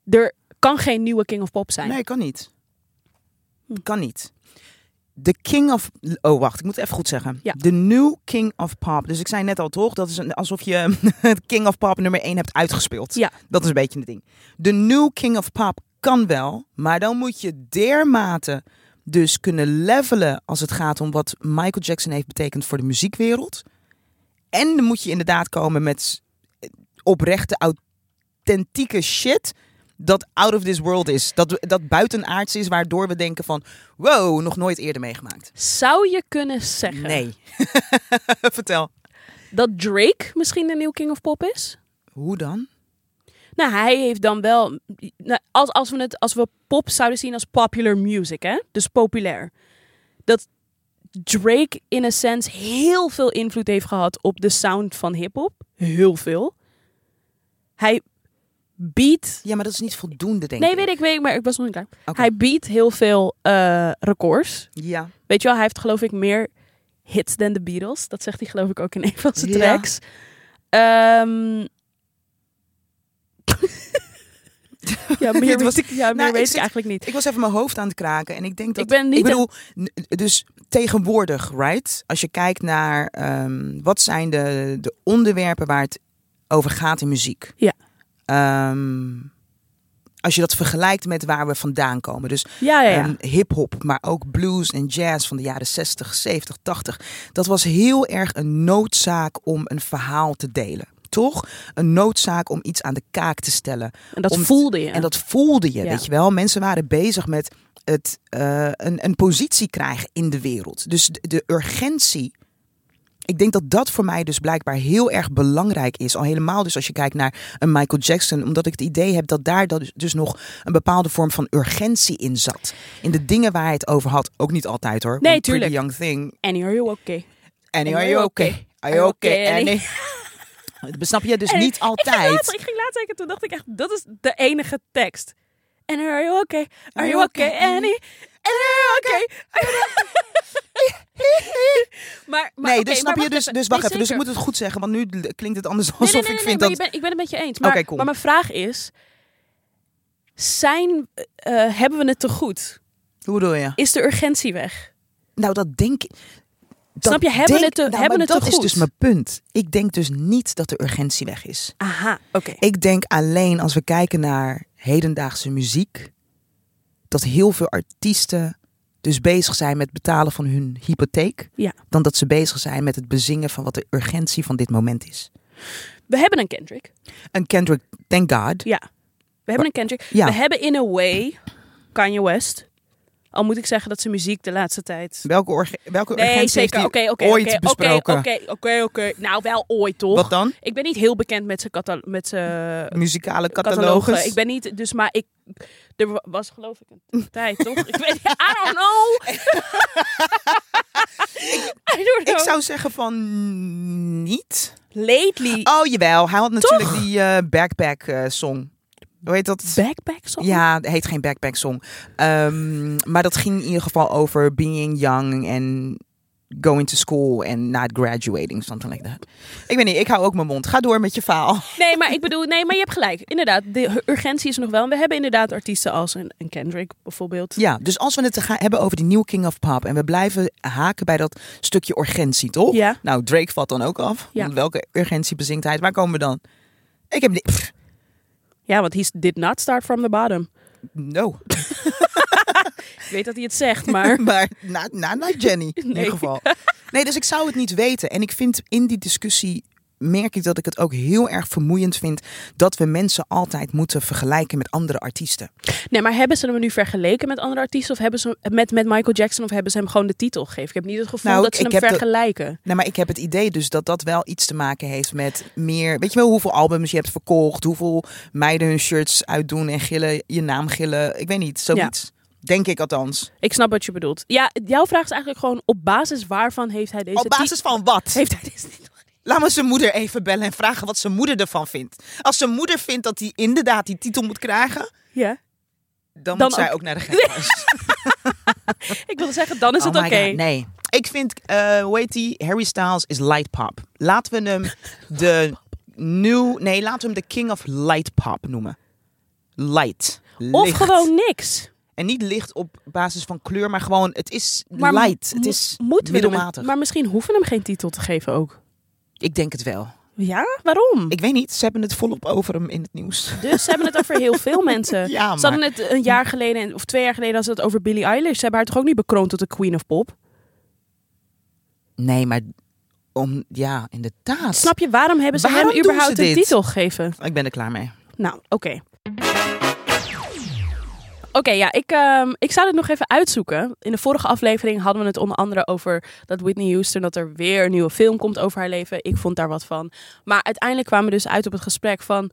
er kan geen nieuwe king of pop zijn. Hm.
Nee, kan niet. Kan niet. De king of... Oh, wacht. Ik moet het even goed zeggen.
Ja.
De new king of pop. Dus ik zei net al toch, dat is een, alsof je het king of pop nummer 1 hebt uitgespeeld.
Ja.
Dat is een beetje het ding. De new king of pop kan wel, maar dan moet je dermate dus kunnen levelen als het gaat om wat Michael Jackson heeft betekend voor de muziekwereld. En dan moet je inderdaad komen met oprechte, authentieke shit dat out of this world is. Dat, dat buitenaards is, waardoor we denken van... wow, nog nooit eerder meegemaakt.
Zou je kunnen zeggen
Nee. Vertel.
dat Drake misschien de new king of pop is?
Hoe dan?
Nou, hij heeft dan wel. Nou, als, als, we het, als we pop zouden zien als popular music, hè? Dus populair. Dat Drake in een sense heel veel invloed heeft gehad op de sound van hip-hop. Heel veel. Hij biedt.
Ja, maar dat is niet voldoende, denk
Nee,
ik.
weet ik, weet ik, maar ik was nog niet klaar.
Oké.
Hij biedt heel veel eh, records.
Ja.
Weet je wel, hij heeft geloof ik meer hits dan de Beatles. Dat zegt hij geloof ik ook in een van zijn
Ja.
tracks. Ehm. ja, meer
Dit
weet,
was-
ik, ja, meer
Nou, ik
weet ik
zit-
eigenlijk niet.
Ik was even mijn hoofd aan het kraken en ik denk dat...
Ik ben niet-
Ik bedoel, n- dus tegenwoordig, right? Als je kijkt naar ehm, wat zijn de, de onderwerpen waar het over gaat in muziek.
Ja.
Ehm, als je dat vergelijkt met waar we vandaan komen. Dus
Ja, ja, ja.
Ehm, hip-hop, maar ook blues en jazz van de jaren 60, 70, 80. Dat was heel erg een noodzaak om een verhaal te delen. Toch? Een noodzaak om iets aan de kaak te stellen.
en dat
om-
voelde je.
En dat voelde je,
Ja.
weet je wel. Mensen waren bezig met het, eh, een, een positie krijgen in de wereld. Dus de, de urgentie. Ik denk dat dat voor mij dus blijkbaar heel erg belangrijk is. Al helemaal dus als je kijkt naar een Michael Jackson. Omdat ik het idee heb dat daar dat dus nog een bepaalde vorm van urgentie in zat. In de dingen waar hij het over had. Ook niet altijd hoor.
Nee,
Want Pretty
tuurlijk.
Young Thing.
Annie, are you okay?
Annie, are you okay? Are you okay, Annie? Besnap je dus
En
niet
Ik ging laatst,
altijd.
ik ging laatst kijken, toen dacht ik echt, dat is de enige tekst. En are you okay? Are you okay, Annie? En are you okay? maar, maar,
nee,
oké,
dus snap
maar
je?
wacht
Dus, dus wacht
Nee,
even. Dus
zeker.
ik moet het goed zeggen, want nu l- klinkt het anders
Nee,
alsof
nee, nee,
ik
nee,
vind
maar
dat...
Ik ben, ik ben het met je eens. Maar,
Oké, cool.
maar mijn vraag is... Zijn, eh, eh, hebben we het te goed?
Hoe bedoel je?
Is de urgentie weg?
Nou, dat denk ik... dat
Snap je? Hebben
denk-
het te-
nou, maar
hebben het te
dat is
goed?
dus mijn punt. Ik denk dus niet dat de urgentie weg is.
Aha, oké.
Ik denk alleen als we kijken naar hedendaagse muziek, dat heel veel artiesten dus bezig zijn met betalen van hun hypotheek,
Ja.
dan dat ze bezig zijn met het bezingen van wat de urgentie van dit moment is.
We hebben een Kendrick.
En Kendrick, thank God.
Ja. We hebben een Kendrick.
Ja.
We hebben in a way Kanye West. Al moet ik zeggen dat zijn muziek de laatste tijd...
Welke, orge- welke
Nee,
urgentie
zeker.
heeft hij
Oké, oké,
ooit
oké, oké,
besproken?
oké, oké, oké. Nou, wel ooit toch?
Wat dan?
Ik ben niet heel bekend met zijn cata- met zijn
Muzikale catalogus.
catalogus. Ik ben niet, dus maar ik, er wa- was geloof ik een tijd toch? Ik weet, I don't know. I don't know.
Ik zou zeggen van niet.
Lately
Oh jawel, hij had natuurlijk die eh, backpack eh, song. Hoe heet dat?
backpack song.
Oh. Ja, het heet geen backpack song. Ehm, maar dat ging in ieder geval over being young en going to school en not graduating, something like that. Ik weet niet, ik hou ook mijn mond. Ga door met je faal.
Nee, maar ik bedoel, nee, maar je hebt gelijk. Inderdaad, de urgentie is er nog wel. En we hebben inderdaad artiesten als een, een Kendrick bijvoorbeeld.
Ja, dus als we het te gaan hebben over die nieuwe King of Pop en we blijven haken bij dat stukje urgentie, toch?
Ja.
Nou, Drake valt dan ook af.
Ja.
Want Welke urgentie bezinkt hij? Waar komen we dan? Ik heb... ni- Pff,
Ja, want he did not start from the bottom.
No.
Ik weet dat hij het zegt, maar
Maar na, na, na Jenny in
Nee.
ieder geval. Nee, dus ik zou het niet weten. En ik vind in die discussie merk ik dat ik het ook heel erg vermoeiend vind dat we mensen altijd moeten vergelijken met andere artiesten.
Nee, maar hebben ze hem nu vergeleken met andere artiesten? Of hebben ze hem met, met Michael Jackson? Of hebben ze hem gewoon de titel gegeven? Ik heb niet het gevoel
Nou,
dat ze
ik
hem
heb de-
vergelijken.
Nou, maar ik heb het idee dus dat dat wel iets te maken heeft met meer... Weet je wel hoeveel albums je hebt verkocht? Hoeveel meiden hun shirts uitdoen en gillen, je naam gillen? Ik weet niet, zoiets. Denk ik althans.
Ik snap wat je bedoelt. Ja, jouw vraag is eigenlijk gewoon... op basis waarvan heeft hij deze
Op basis van wat?
ti- Heeft hij deze titel gegeven?
Laat maar zijn moeder even bellen en vragen wat zijn moeder ervan vindt. Als zijn moeder vindt dat hij inderdaad die titel moet krijgen...
Ja. Dan
Dan, moet zij
ook-
ook naar de gekhuis.
Ik wilde zeggen, dan is het
Oh my
oké.
god, Nee. Ik vind, eh hoe heet die? Harry Styles is light pop. Laten we hem de new, nee, laten we hem de king of light pop noemen. Light.
Of
Licht.
gewoon niks.
En niet licht op basis van kleur, maar gewoon, het is
Maar
light. Het
mo-
is
moeten we hem-
middelmatig.
maar misschien hoeven we hem geen titel te geven ook.
Ik denk het wel.
Ja? Waarom?
Ik weet niet, ze hebben het volop over hem in het nieuws.
Dus ze hebben het over heel veel mensen.
Ja, maar-
Ze hadden het een jaar geleden en- of twee jaar geleden als het over Billie Eilish. Ze hebben haar toch ook niet bekroond tot de Queen of Pop?
Nee, maar om, ja, inderdaad.
Snap je, waarom hebben ze
Waarom
hem
doen
überhaupt
ze
een
dit?
titel gegeven?
Ik ben er klaar mee.
Nou, oké. Oké, ja, ik, ehm, ik zou dit nog even uitzoeken. In de vorige aflevering hadden we het onder andere over dat Whitney Houston, dat er weer een nieuwe film komt over haar leven. Ik vond daar wat van. Maar uiteindelijk kwamen we dus uit op het gesprek van,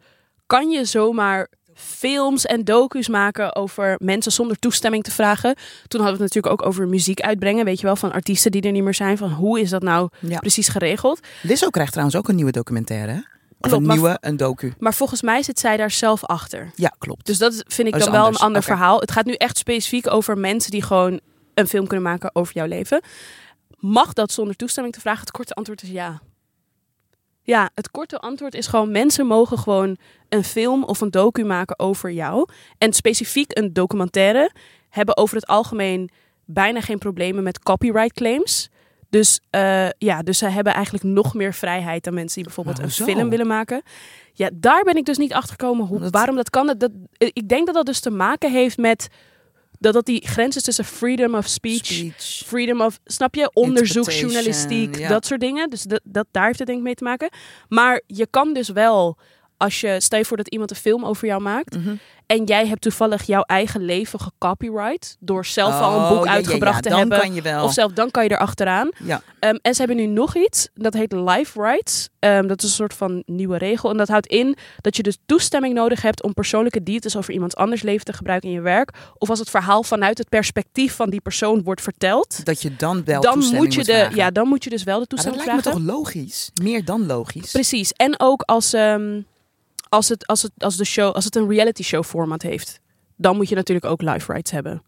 kan je zomaar films en docu's maken over mensen zonder toestemming te vragen? Toen hadden we het natuurlijk ook over muziek uitbrengen, weet je wel, van artiesten die er niet meer zijn. Van hoe is dat nou
Ja.
precies geregeld?
Lizzo krijgt trouwens ook een nieuwe documentaire, hè? Of
Klopt,
een
maar-
nieuwe, een docu.
Maar volgens mij zit zij daar zelf achter.
Ja, klopt.
Dus dat vind ik
Dat is
dan wel
anders.
een ander
Oké.
verhaal. Het gaat nu echt specifiek over mensen die gewoon een film kunnen maken over jouw leven. Mag dat zonder toestemming te vragen? Het korte antwoord is ja. Ja, het korte antwoord is gewoon: mensen mogen gewoon een film of een docu maken over jou. En specifiek een documentaire hebben over het algemeen bijna geen problemen met copyright claims. Dus eh, ja, dus zij hebben eigenlijk nog meer vrijheid dan mensen die bijvoorbeeld
Maar
een
hoezo?
film willen maken. Ja, daar ben ik dus niet achter gekomen hoe,
Omdat-
waarom dat kan. Dat, dat, eh, ik denk dat dat dus te maken heeft met dat dat die grens is tussen freedom of speech,
Speech.
freedom of, snap je, onderzoek,
Interpretation,
journalistiek,
ja.
dat soort dingen. Dus dat, dat, daar heeft het denk ik mee te maken. Maar je kan dus wel, als je, stel je voor dat iemand een film over jou maakt.
Mhm.
En jij hebt toevallig jouw eigen leven gecopyright. Door zelf al een
Oh,
boek
ja, ja,
uitgebracht
ja,
te
dan
hebben.
kan je wel.
Of zelf, dan kan je erachteraan.
Ja.
Ehm, en ze hebben nu nog iets, dat heet life rights. Ehm, dat is een soort van nieuwe regel. En dat houdt in dat je dus toestemming nodig hebt om persoonlijke details over iemand anders leven te gebruiken in je werk. Of als het verhaal vanuit het perspectief van die persoon wordt verteld.
dat je dan wel
Dan
toestemming
moet, je de,
vragen.
ja, dan moet je dus wel de
Maar dat
toestemming
lijkt me
vragen.
toch logisch? Meer dan logisch.
Precies. En ook als, ehm, als, het, als, het, als, de show, als het een reality show format heeft. Dan moet je natuurlijk ook life rights hebben.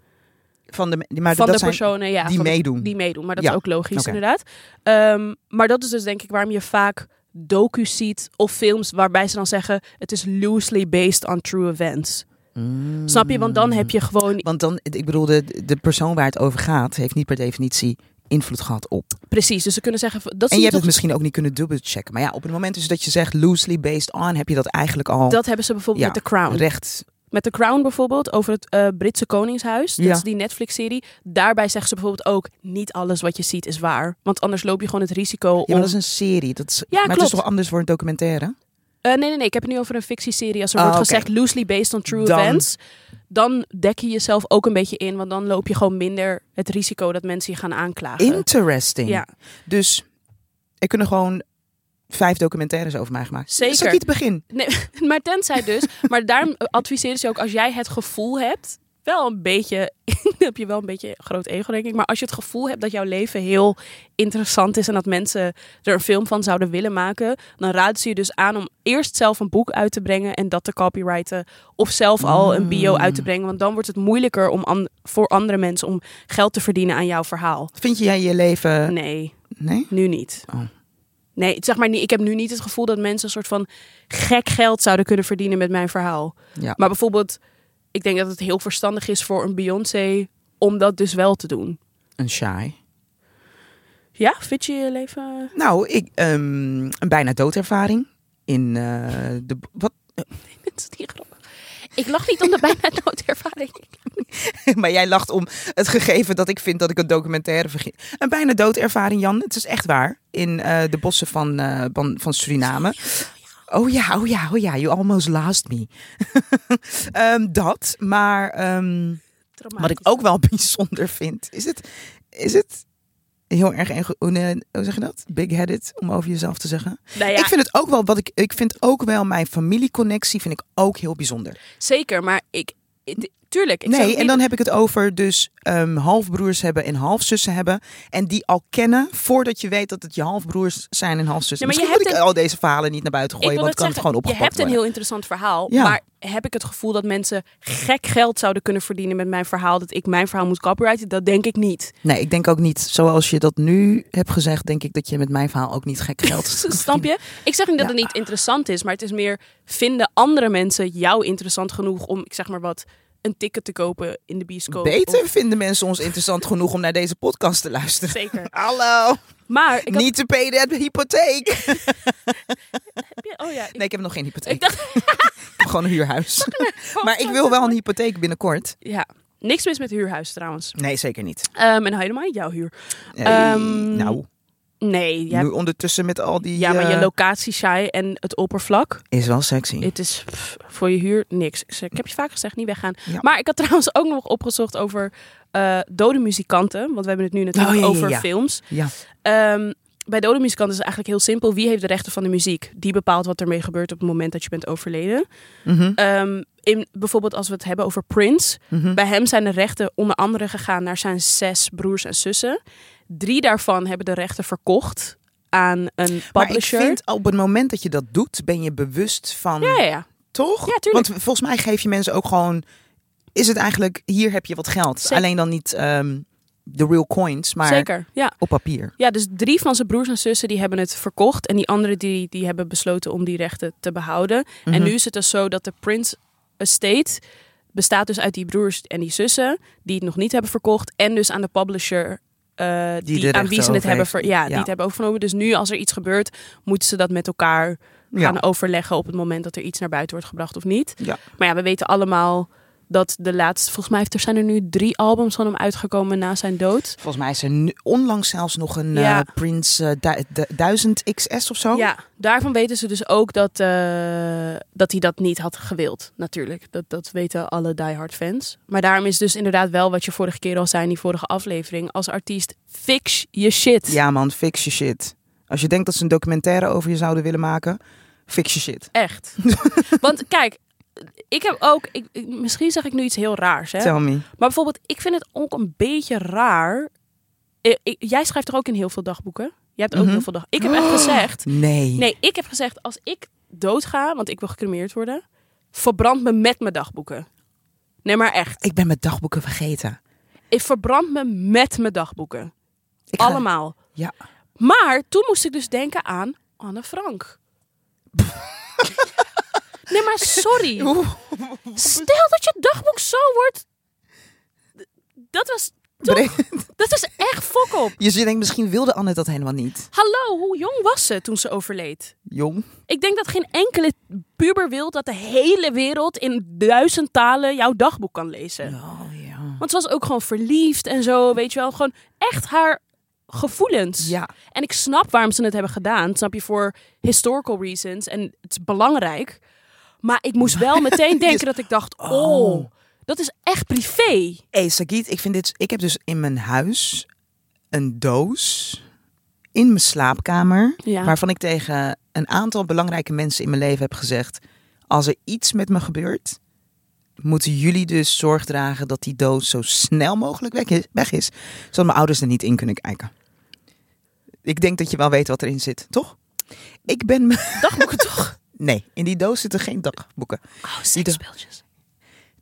Van de, maar
van
dat
de
zijn-
personen ja,
die
van de-
meedoen.
die meedoen. Maar dat
Ja,
is ook logisch
oké.
inderdaad. Ehm, maar dat is dus denk ik waarom je vaak docu's ziet of films waarbij ze dan zeggen het is loosely based on true events.
Mm.
Snap je? Want dan heb je gewoon
Want dan, ik bedoel, de, de persoon waar het over gaat, heeft niet per definitie invloed gehad op.
precies. Dus ze kunnen zeggen v- dat
en
zie
je
je
hebt het
toch-
misschien ook niet kunnen dubbelchecken. Maar ja, op het moment dus dat je zegt loosely based on, heb je dat eigenlijk al
dat hebben ze bijvoorbeeld
Ja,
met The Crown.
recht.
Met The Crown bijvoorbeeld, over het eh, Britse Koningshuis. Dat
Ja.
is die Netflix-serie. Daarbij zeggen ze bijvoorbeeld ook, niet alles wat je ziet is waar. Want anders loop je gewoon het risico
Ja,
om...
maar dat is een serie. Dat is,
Ja,
maar het is
klopt.
toch anders voor een documentaire?
Eh, nee, nee, nee. Ik heb het nu over een fictieserie. Als er
Ah,
wordt
oké.
gezegd loosely based on true
Dan-
events. dan dek je jezelf ook een beetje in, want dan loop je gewoon minder het risico dat mensen je gaan aanklagen.
Interesting.
eh, Ja,
Dus er kunnen gewoon vijf documentaires over mij gemaakt. Dat is
Zeker.
ook niet het begin.
maar tenzij dus. Maar daarom adviseren ze ook als jij het gevoel hebt, wel een beetje, dan heb je wel een beetje een groot ego denk ik, maar als je het gevoel hebt dat jouw leven heel interessant is en dat mensen er een film van zouden willen maken, dan raden ze je dus aan om eerst zelf een boek uit te brengen en dat te copyrighten of zelf al een bio uit te brengen, want dan wordt het moeilijker om an- voor andere mensen om geld te verdienen aan jouw verhaal.
Vind jij je leven...
Nee.
Nee?
Nu niet.
Oh.
Nee, zeg maar, niet- ik heb nu niet het gevoel dat mensen een soort van gek geld zouden kunnen verdienen met mijn verhaal.
Ja.
Maar bijvoorbeeld, ik denk dat het heel verstandig is voor een Beyoncé om dat dus wel te doen.
Een shy.
Ja, vind je je leven? eh,
Nou, ik, ehm, een bijna doodervaring. In eh, de... Wat?
Het is niet grappig. Ik lach niet om de bijna doodervaring.
maar jij lacht om het gegeven dat ik vind dat ik een documentaire vergis. Een bijna doodervaring, Jan. Het is echt waar. In eh, de bossen van, eh, van, van Suriname. Oh ja, oh ja, oh ja. You almost lost me. Ehm, dat, maar... ehm, Wat ik ook wel bijzonder vind, is het, is het heel erg, ego- hoe ne- hoe zeg je dat? Big-headed, om over jezelf te zeggen.
Nou ja,
Ik vind het ook wel, wat ik, ik vind ook wel mijn familieconnectie vind ik ook heel bijzonder.
zeker, maar ik. het- Tuurlijk. Ik zou
nee,
het
en
niet-
dan heb ik het over dus ehm, halfbroers hebben en halfzussen hebben. En die al kennen voordat je weet dat het je halfbroers zijn en halfzussen.
Nee, maar je
Misschien moet
hebt
ik al deze verhalen niet naar buiten gooien, want
wil
het kan
net
het
zeggen,
gewoon opgepakt
Je hebt een
worden.
heel interessant verhaal,
Ja.
maar heb ik het gevoel dat mensen gek geld zouden kunnen verdienen met mijn verhaal, dat ik mijn verhaal moet copyrighten? Dat denk ik niet.
Nee, ik denk ook niet, zoals je dat nu hebt gezegd, denk ik dat je met mijn verhaal ook niet gek geld...
Snap je? Ik zeg niet dat
Ja.
het niet interessant is, maar het is meer vinden andere mensen jou interessant genoeg om, ik zeg maar wat, een ticket te kopen in de bioscoop.
Beter
Of-
vinden mensen ons interessant genoeg om naar deze podcast te luisteren.
zeker.
Hallo,
Maar ik had-
niet te pay that hypotheek.
heb je- oh ja, ik,
Nee, ik heb nog geen hypotheek.
ik dacht
Ik heb gewoon een huurhuis. Maar ik wil wel een hypotheek binnenkort.
ja, niks mis met huurhuis trouwens.
Nee, zeker niet.
Ehm, en helemaal niet jouw huur.
Nee,
Ehm,
nou,
Nee, jij,
nu ondertussen met al die...
ja, maar je
eh,
locatie saai en het oppervlak.
Is wel sexy.
Het is pff, voor je huur niks. Ik zeg, Ik heb je vaak gezegd, niet weggaan.
Ja.
Maar ik had trouwens ook nog opgezocht over eh, dode muzikanten. Want we hebben het nu natuurlijk
Oh, ja, ja,
over
ja.
films.
Ja.
Ehm, bij dode muzikanten is het eigenlijk heel simpel. Wie heeft de rechten van de muziek? Die bepaalt wat ermee gebeurt op het moment dat je bent overleden.
Mhm,
Ehm, in, bijvoorbeeld als we het hebben over Prince.
mhm.
Bij hem zijn de rechten onder andere gegaan naar zijn zes broers en zussen. Drie daarvan hebben de rechten verkocht aan een publisher.
Maar ik vind op het moment dat je dat doet, ben je bewust van...
Ja, ja, ja.
Toch?
Ja, tuurlijk.
Want volgens mij geef je mensen ook gewoon... Is het eigenlijk, hier heb je wat geld.
Zeker.
Alleen dan niet ehm, de real coins, maar
Zeker. Ja.
op papier.
Ja, dus drie van zijn broers en zussen die hebben het verkocht. En die anderen die, die hebben besloten om die rechten te behouden.
Mhm.
En nu is het dus zo dat de Prince Estate bestaat dus uit die broers en die zussen. Die het nog niet hebben verkocht. En dus aan de publisher eh, die
de
aan wie ze
rechten
het hebben,
overheeft.
ver, ja, Die
Ja.
het hebben overgenomen. Dus nu als er iets gebeurt, moeten ze dat met elkaar
Ja.
gaan overleggen. Op het moment dat er iets naar buiten wordt gebracht of niet.
Ja.
Maar ja, we weten allemaal dat de laatste... Volgens mij heeft er- zijn er nu drie albums van hem uitgekomen na zijn dood.
Volgens mij is er nu- onlangs zelfs nog een eh
Ja.
Prince eh, du- du- 1000 XS of zo.
Ja, daarvan weten ze dus ook dat, eh, dat hij dat niet had gewild, natuurlijk. Dat, dat weten alle diehard fans. Maar daarom is dus inderdaad wel wat je vorige keer al zei in die vorige aflevering. Als artiest, fix je shit.
Ja, man, fix je shit. Als je denkt dat ze een documentaire over je zouden willen maken, fix je shit.
Echt. Want kijk, ik heb ook... Ik, ik- misschien zeg ik nu iets heel raars, hè?
Tell me.
Maar bijvoorbeeld, ik vind het ook een beetje raar... Eh, ik- jij schrijft toch ook in heel veel dagboeken? Jij hebt ook
Mhm.
heel veel dagboeken. Ik heb echt gezegd...
Nee.
Nee, ik heb gezegd, als ik doodga, want ik wil gecremeerd worden, verbrand me met mijn dagboeken. Nee, maar echt.
Ik ben mijn dagboeken vergeten.
Ik verbrand me met mijn dagboeken.
Ik ga-
Allemaal.
Ja.
Maar toen moest ik dus denken aan Anne Frank. nee, maar sorry.
Oeh.
Stel dat je dagboek zo wordt. D- Dat was,
Bre-
dat is echt fok op.
Je denkt, misschien wilde Anne dat helemaal niet.
Hallo, hoe jong was ze toen ze overleed?
Jong.
Ik denk dat geen enkele puber wil dat de hele wereld in duizend talen jouw dagboek kan lezen.
Oh ja.
Want ze was ook gewoon verliefd en zo, weet je wel. Gewoon echt haar gevoelens.
Ja.
En ik snap waarom ze het hebben gedaan. Snap je, voor historical reasons. En het is belangrijk. Maar ik moest wel meteen denken dat ik dacht, oh...
Oh.
Dat is echt privé.
hey, Sagit, ik, vind dit, ik heb dus in mijn huis een doos in mijn slaapkamer.
Ja.
Waarvan ik tegen een aantal belangrijke mensen in mijn leven heb gezegd: Als er iets met me gebeurt, moeten jullie dus zorg dragen dat die doos zo snel mogelijk weg is, weg is zodat mijn ouders er niet in kunnen kijken. Ik denk dat je wel weet wat erin zit, toch? Ik ben. me-
Dagboeken toch?
Nee, in die doos zitten geen dagboeken.
Oh,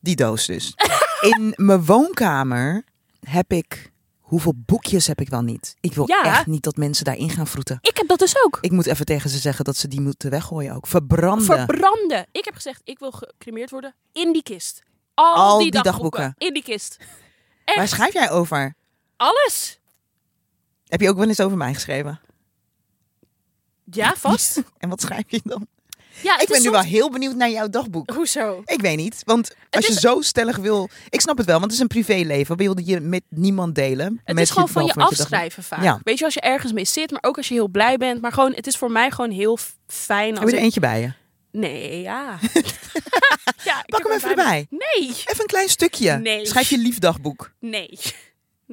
Die doos dus. In mijn woonkamer heb ik. Hoeveel boekjes heb ik wel niet? Ik wil
Ja.
echt niet dat mensen daarin gaan vroeten.
Ik heb dat dus ook.
Ik moet even tegen ze zeggen dat ze die moeten weggooien ook. Verbranden.
Verbranden. Ik heb gezegd, ik wil gecremeerd worden in die kist. Al,
Al
die,
die
dagboeken.
dagboeken.
In die kist. Echt.
Waar schrijf jij over?
Alles.
Heb je ook wel eens over mij geschreven?
Ja, vast.
En wat schrijf je dan?
Ja, het
ik
is
ben nu
soms-
wel heel benieuwd naar jouw dagboek.
Hoezo?
Ik weet niet, want als
is-
je zo stellig wil... Ik snap het wel, want het is een privéleven. Wil je met niemand delen?
Het
met
is gewoon van je
behalve met dagboek.
afschrijven vaak.
Ja.
Weet je, als je ergens mee zit, maar ook als je heel blij bent. Maar gewoon, het is voor mij gewoon heel f- fijn
Heb
als
je er
ik...
eentje bij je?
Nee, ja. ja ik
Pak
heb
hem even
bijna-
erbij.
Nee,
Even een klein stukje.
Nee.
Schrijf je liefdagboek.
nee. Nee.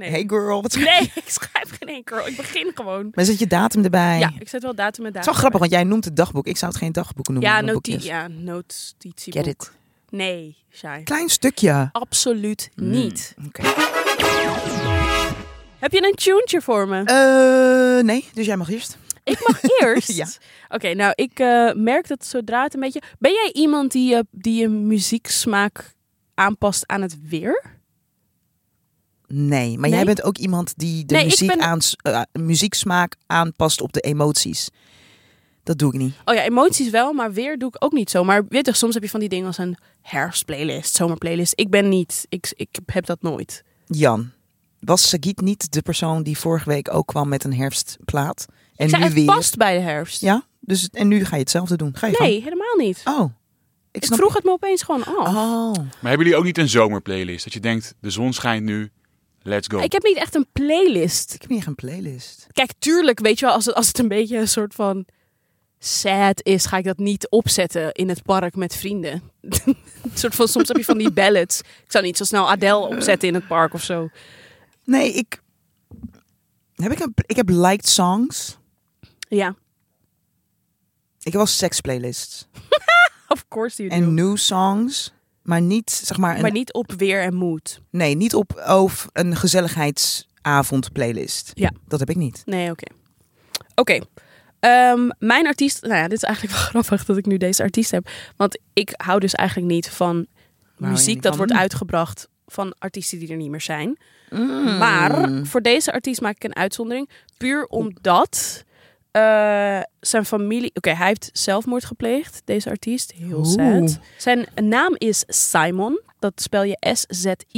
Hey girl, wat schrijf je?
nee, ik schrijf geen enkel. Ik begin gewoon.
Maar zet je datum erbij.
Ja, ik zet wel datum en datum.
het is wel grappig, want jij noemt het dagboek. Ik zou het geen dagboek
erbij.
noemen.
Ja,
maar
noti
boekjes.
ja, notitieboek.
Get it.
Nee, Shai.
Klein
Oh.
stukje.
Absoluut niet.
Oké.
Heb je een tuentje voor me?
Eh, nee, dus jij mag eerst.
Ik mag eerst.
Ja.
Oké, nou ik eh, merk dat zodra het een beetje. Ben jij iemand die, je die je muzieksmaak aanpast aan het weer?
Nee, maar
Nee?
jij bent ook iemand die de
Nee, ik
muziek
ben-
aans- eh, muzieksmaak aanpast op de emoties. Dat doe ik niet.
Oh ja, emoties wel, maar weer doe ik ook niet zo. Maar weet je, soms heb je van die dingen als een herfstplaylist, zomerplaylist. Ik ben niet. Ik, ik heb dat nooit.
Jan, was Sagit niet de persoon die vorige week ook kwam met een herfstplaat? En
ik zei,
nu
het
weer.
past bij de herfst.
Ja, dus en nu ga je hetzelfde doen. Ga je
nee, helemaal niet.
gang. Oh, ik
ik
snap.
vroeg het me opeens gewoon af.
Oh.
Maar hebben jullie ook niet een zomerplaylist? Dat je denkt, de zon schijnt nu, let's
Ah,
go.
Ik heb niet echt een playlist.
Ik heb niet echt een playlist.
Kijk, tuurlijk, weet je wel, als het, als het een beetje een soort van sad is, ga ik dat niet opzetten in het park met vrienden. een soort van, soms heb je van die ballads. Ik zou niet zo snel Adele opzetten in het park of zo.
Nee, ik heb ik een ik heb liked songs.
Ja,
Ik heb wel sex playlists
of course you do.
en new songs, maar niet zeg maar, een-
maar niet op weer en moed.
nee, niet op of een gezelligheidsavond playlist.
Ja.
Dat heb ik niet.
Nee, oké. Oké. Ehm, mijn artiest, nou ja, dit is eigenlijk wel grappig dat ik nu deze artiest heb. Want ik hou dus eigenlijk niet van
je
muziek
niet
dat
van?
wordt uitgebracht van artiesten die er niet meer zijn.
Mm.
Maar voor deze artiest maak ik een uitzondering. Puur omdat eh, zijn familie. Oké, hij heeft zelfmoord gepleegd, deze artiest. Heel
Oeh.
sad. Zijn naam is Simon. Dat spel je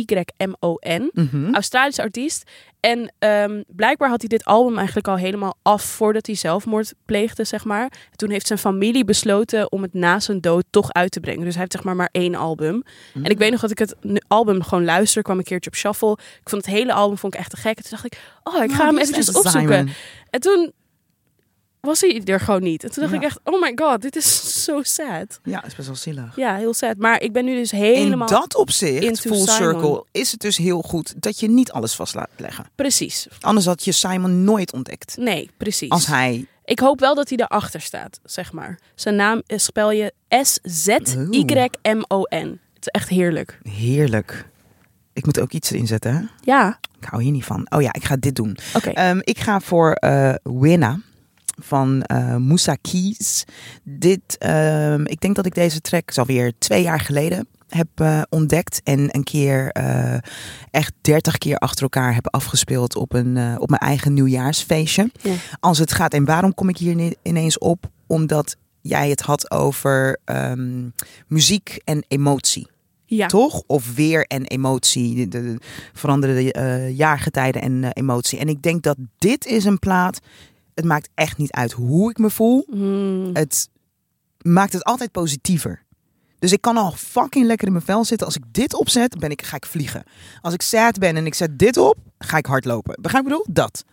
S-Z-Y-M-O-N.
Mhm.
Australische artiest. En ehm, blijkbaar had hij dit album eigenlijk al helemaal af voordat hij zelfmoord pleegde, zeg maar. Toen heeft zijn familie besloten om het na zijn dood toch uit te brengen. Dus hij heeft zeg maar maar één album.
Hm.
En ik weet nog dat ik het nu- album gewoon luister, kwam een keertje op shuffle. Ik vond het hele album vond ik echt te gek. En toen dacht ik, oh, ik ga
Nou,
hem
dit is
eventjes
echt Simon.
opzoeken. En toen was hij er gewoon niet. En toen dacht
Ja.
ik echt, oh my god, dit is zo sad.
Ja, is best wel zielig.
Ja, heel sad. Maar ik ben nu dus helemaal...
In dat opzicht,
into
full
Simon.
circle, is het dus heel goed dat je niet alles vast laat leggen.
Precies.
Anders had je Simon nooit ontdekt.
Nee, precies.
Als hij
Ik hoop wel dat hij erachter staat, zeg maar. Zijn naam is, spel je S-Z-Y-M-O-N. Het is echt heerlijk.
heerlijk. Ik moet ook iets erin zetten, hè?
Ja,
Ik hou hier niet van. Oh ja, ik ga dit doen.
oké.
Ehm, ik ga voor eh Winna van eh Moussa Keys. Dit, ehm, ik denk dat ik deze track is alweer twee jaar geleden heb eh, ontdekt. En een keer eh, echt dertig keer achter elkaar heb afgespeeld op, een, eh, op mijn eigen nieuwjaarsfeestje.
Ja.
Als het gaat, en waarom kom ik hier ni- ineens op? Omdat jij het had over ehm, muziek en emotie
ja.
toch? Of weer en emotie. De, de- de veranderende eh, jaargetijden en eh, emotie. En ik denk dat dit is een plaat. Het maakt echt niet uit hoe ik me voel.
Mm,
Het maakt het altijd positiever. Dus ik kan al fucking lekker in mijn vel zitten. Als ik dit opzet, ben ik, ga ik vliegen. Als ik sad ben en ik zet dit op, ga ik hardlopen. Begrijp je wat ik bedoel? Dat.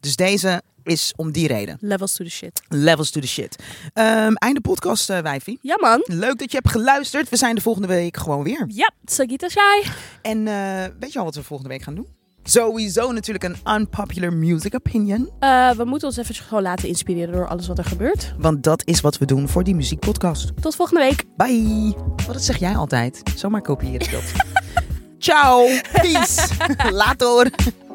Dus deze is om die reden.
Levels to the shit.
Levels to the shit. Ehm, einde podcast, eh wijfie.
Ja, man.
Leuk dat je hebt geluisterd. We zijn de volgende week gewoon weer.
Ja, Sagita Shai.
En eh, weet je al wat we volgende week gaan doen? Sowieso natuurlijk een unpopular music opinion.
Eh, we moeten ons even gewoon laten inspireren door alles wat er gebeurt.
Want dat is wat we doen voor die muziekpodcast.
Tot volgende week.
Bye. Wat dat zeg jij altijd? Zomaar kopiëren dat. Ciao. Peace. Later.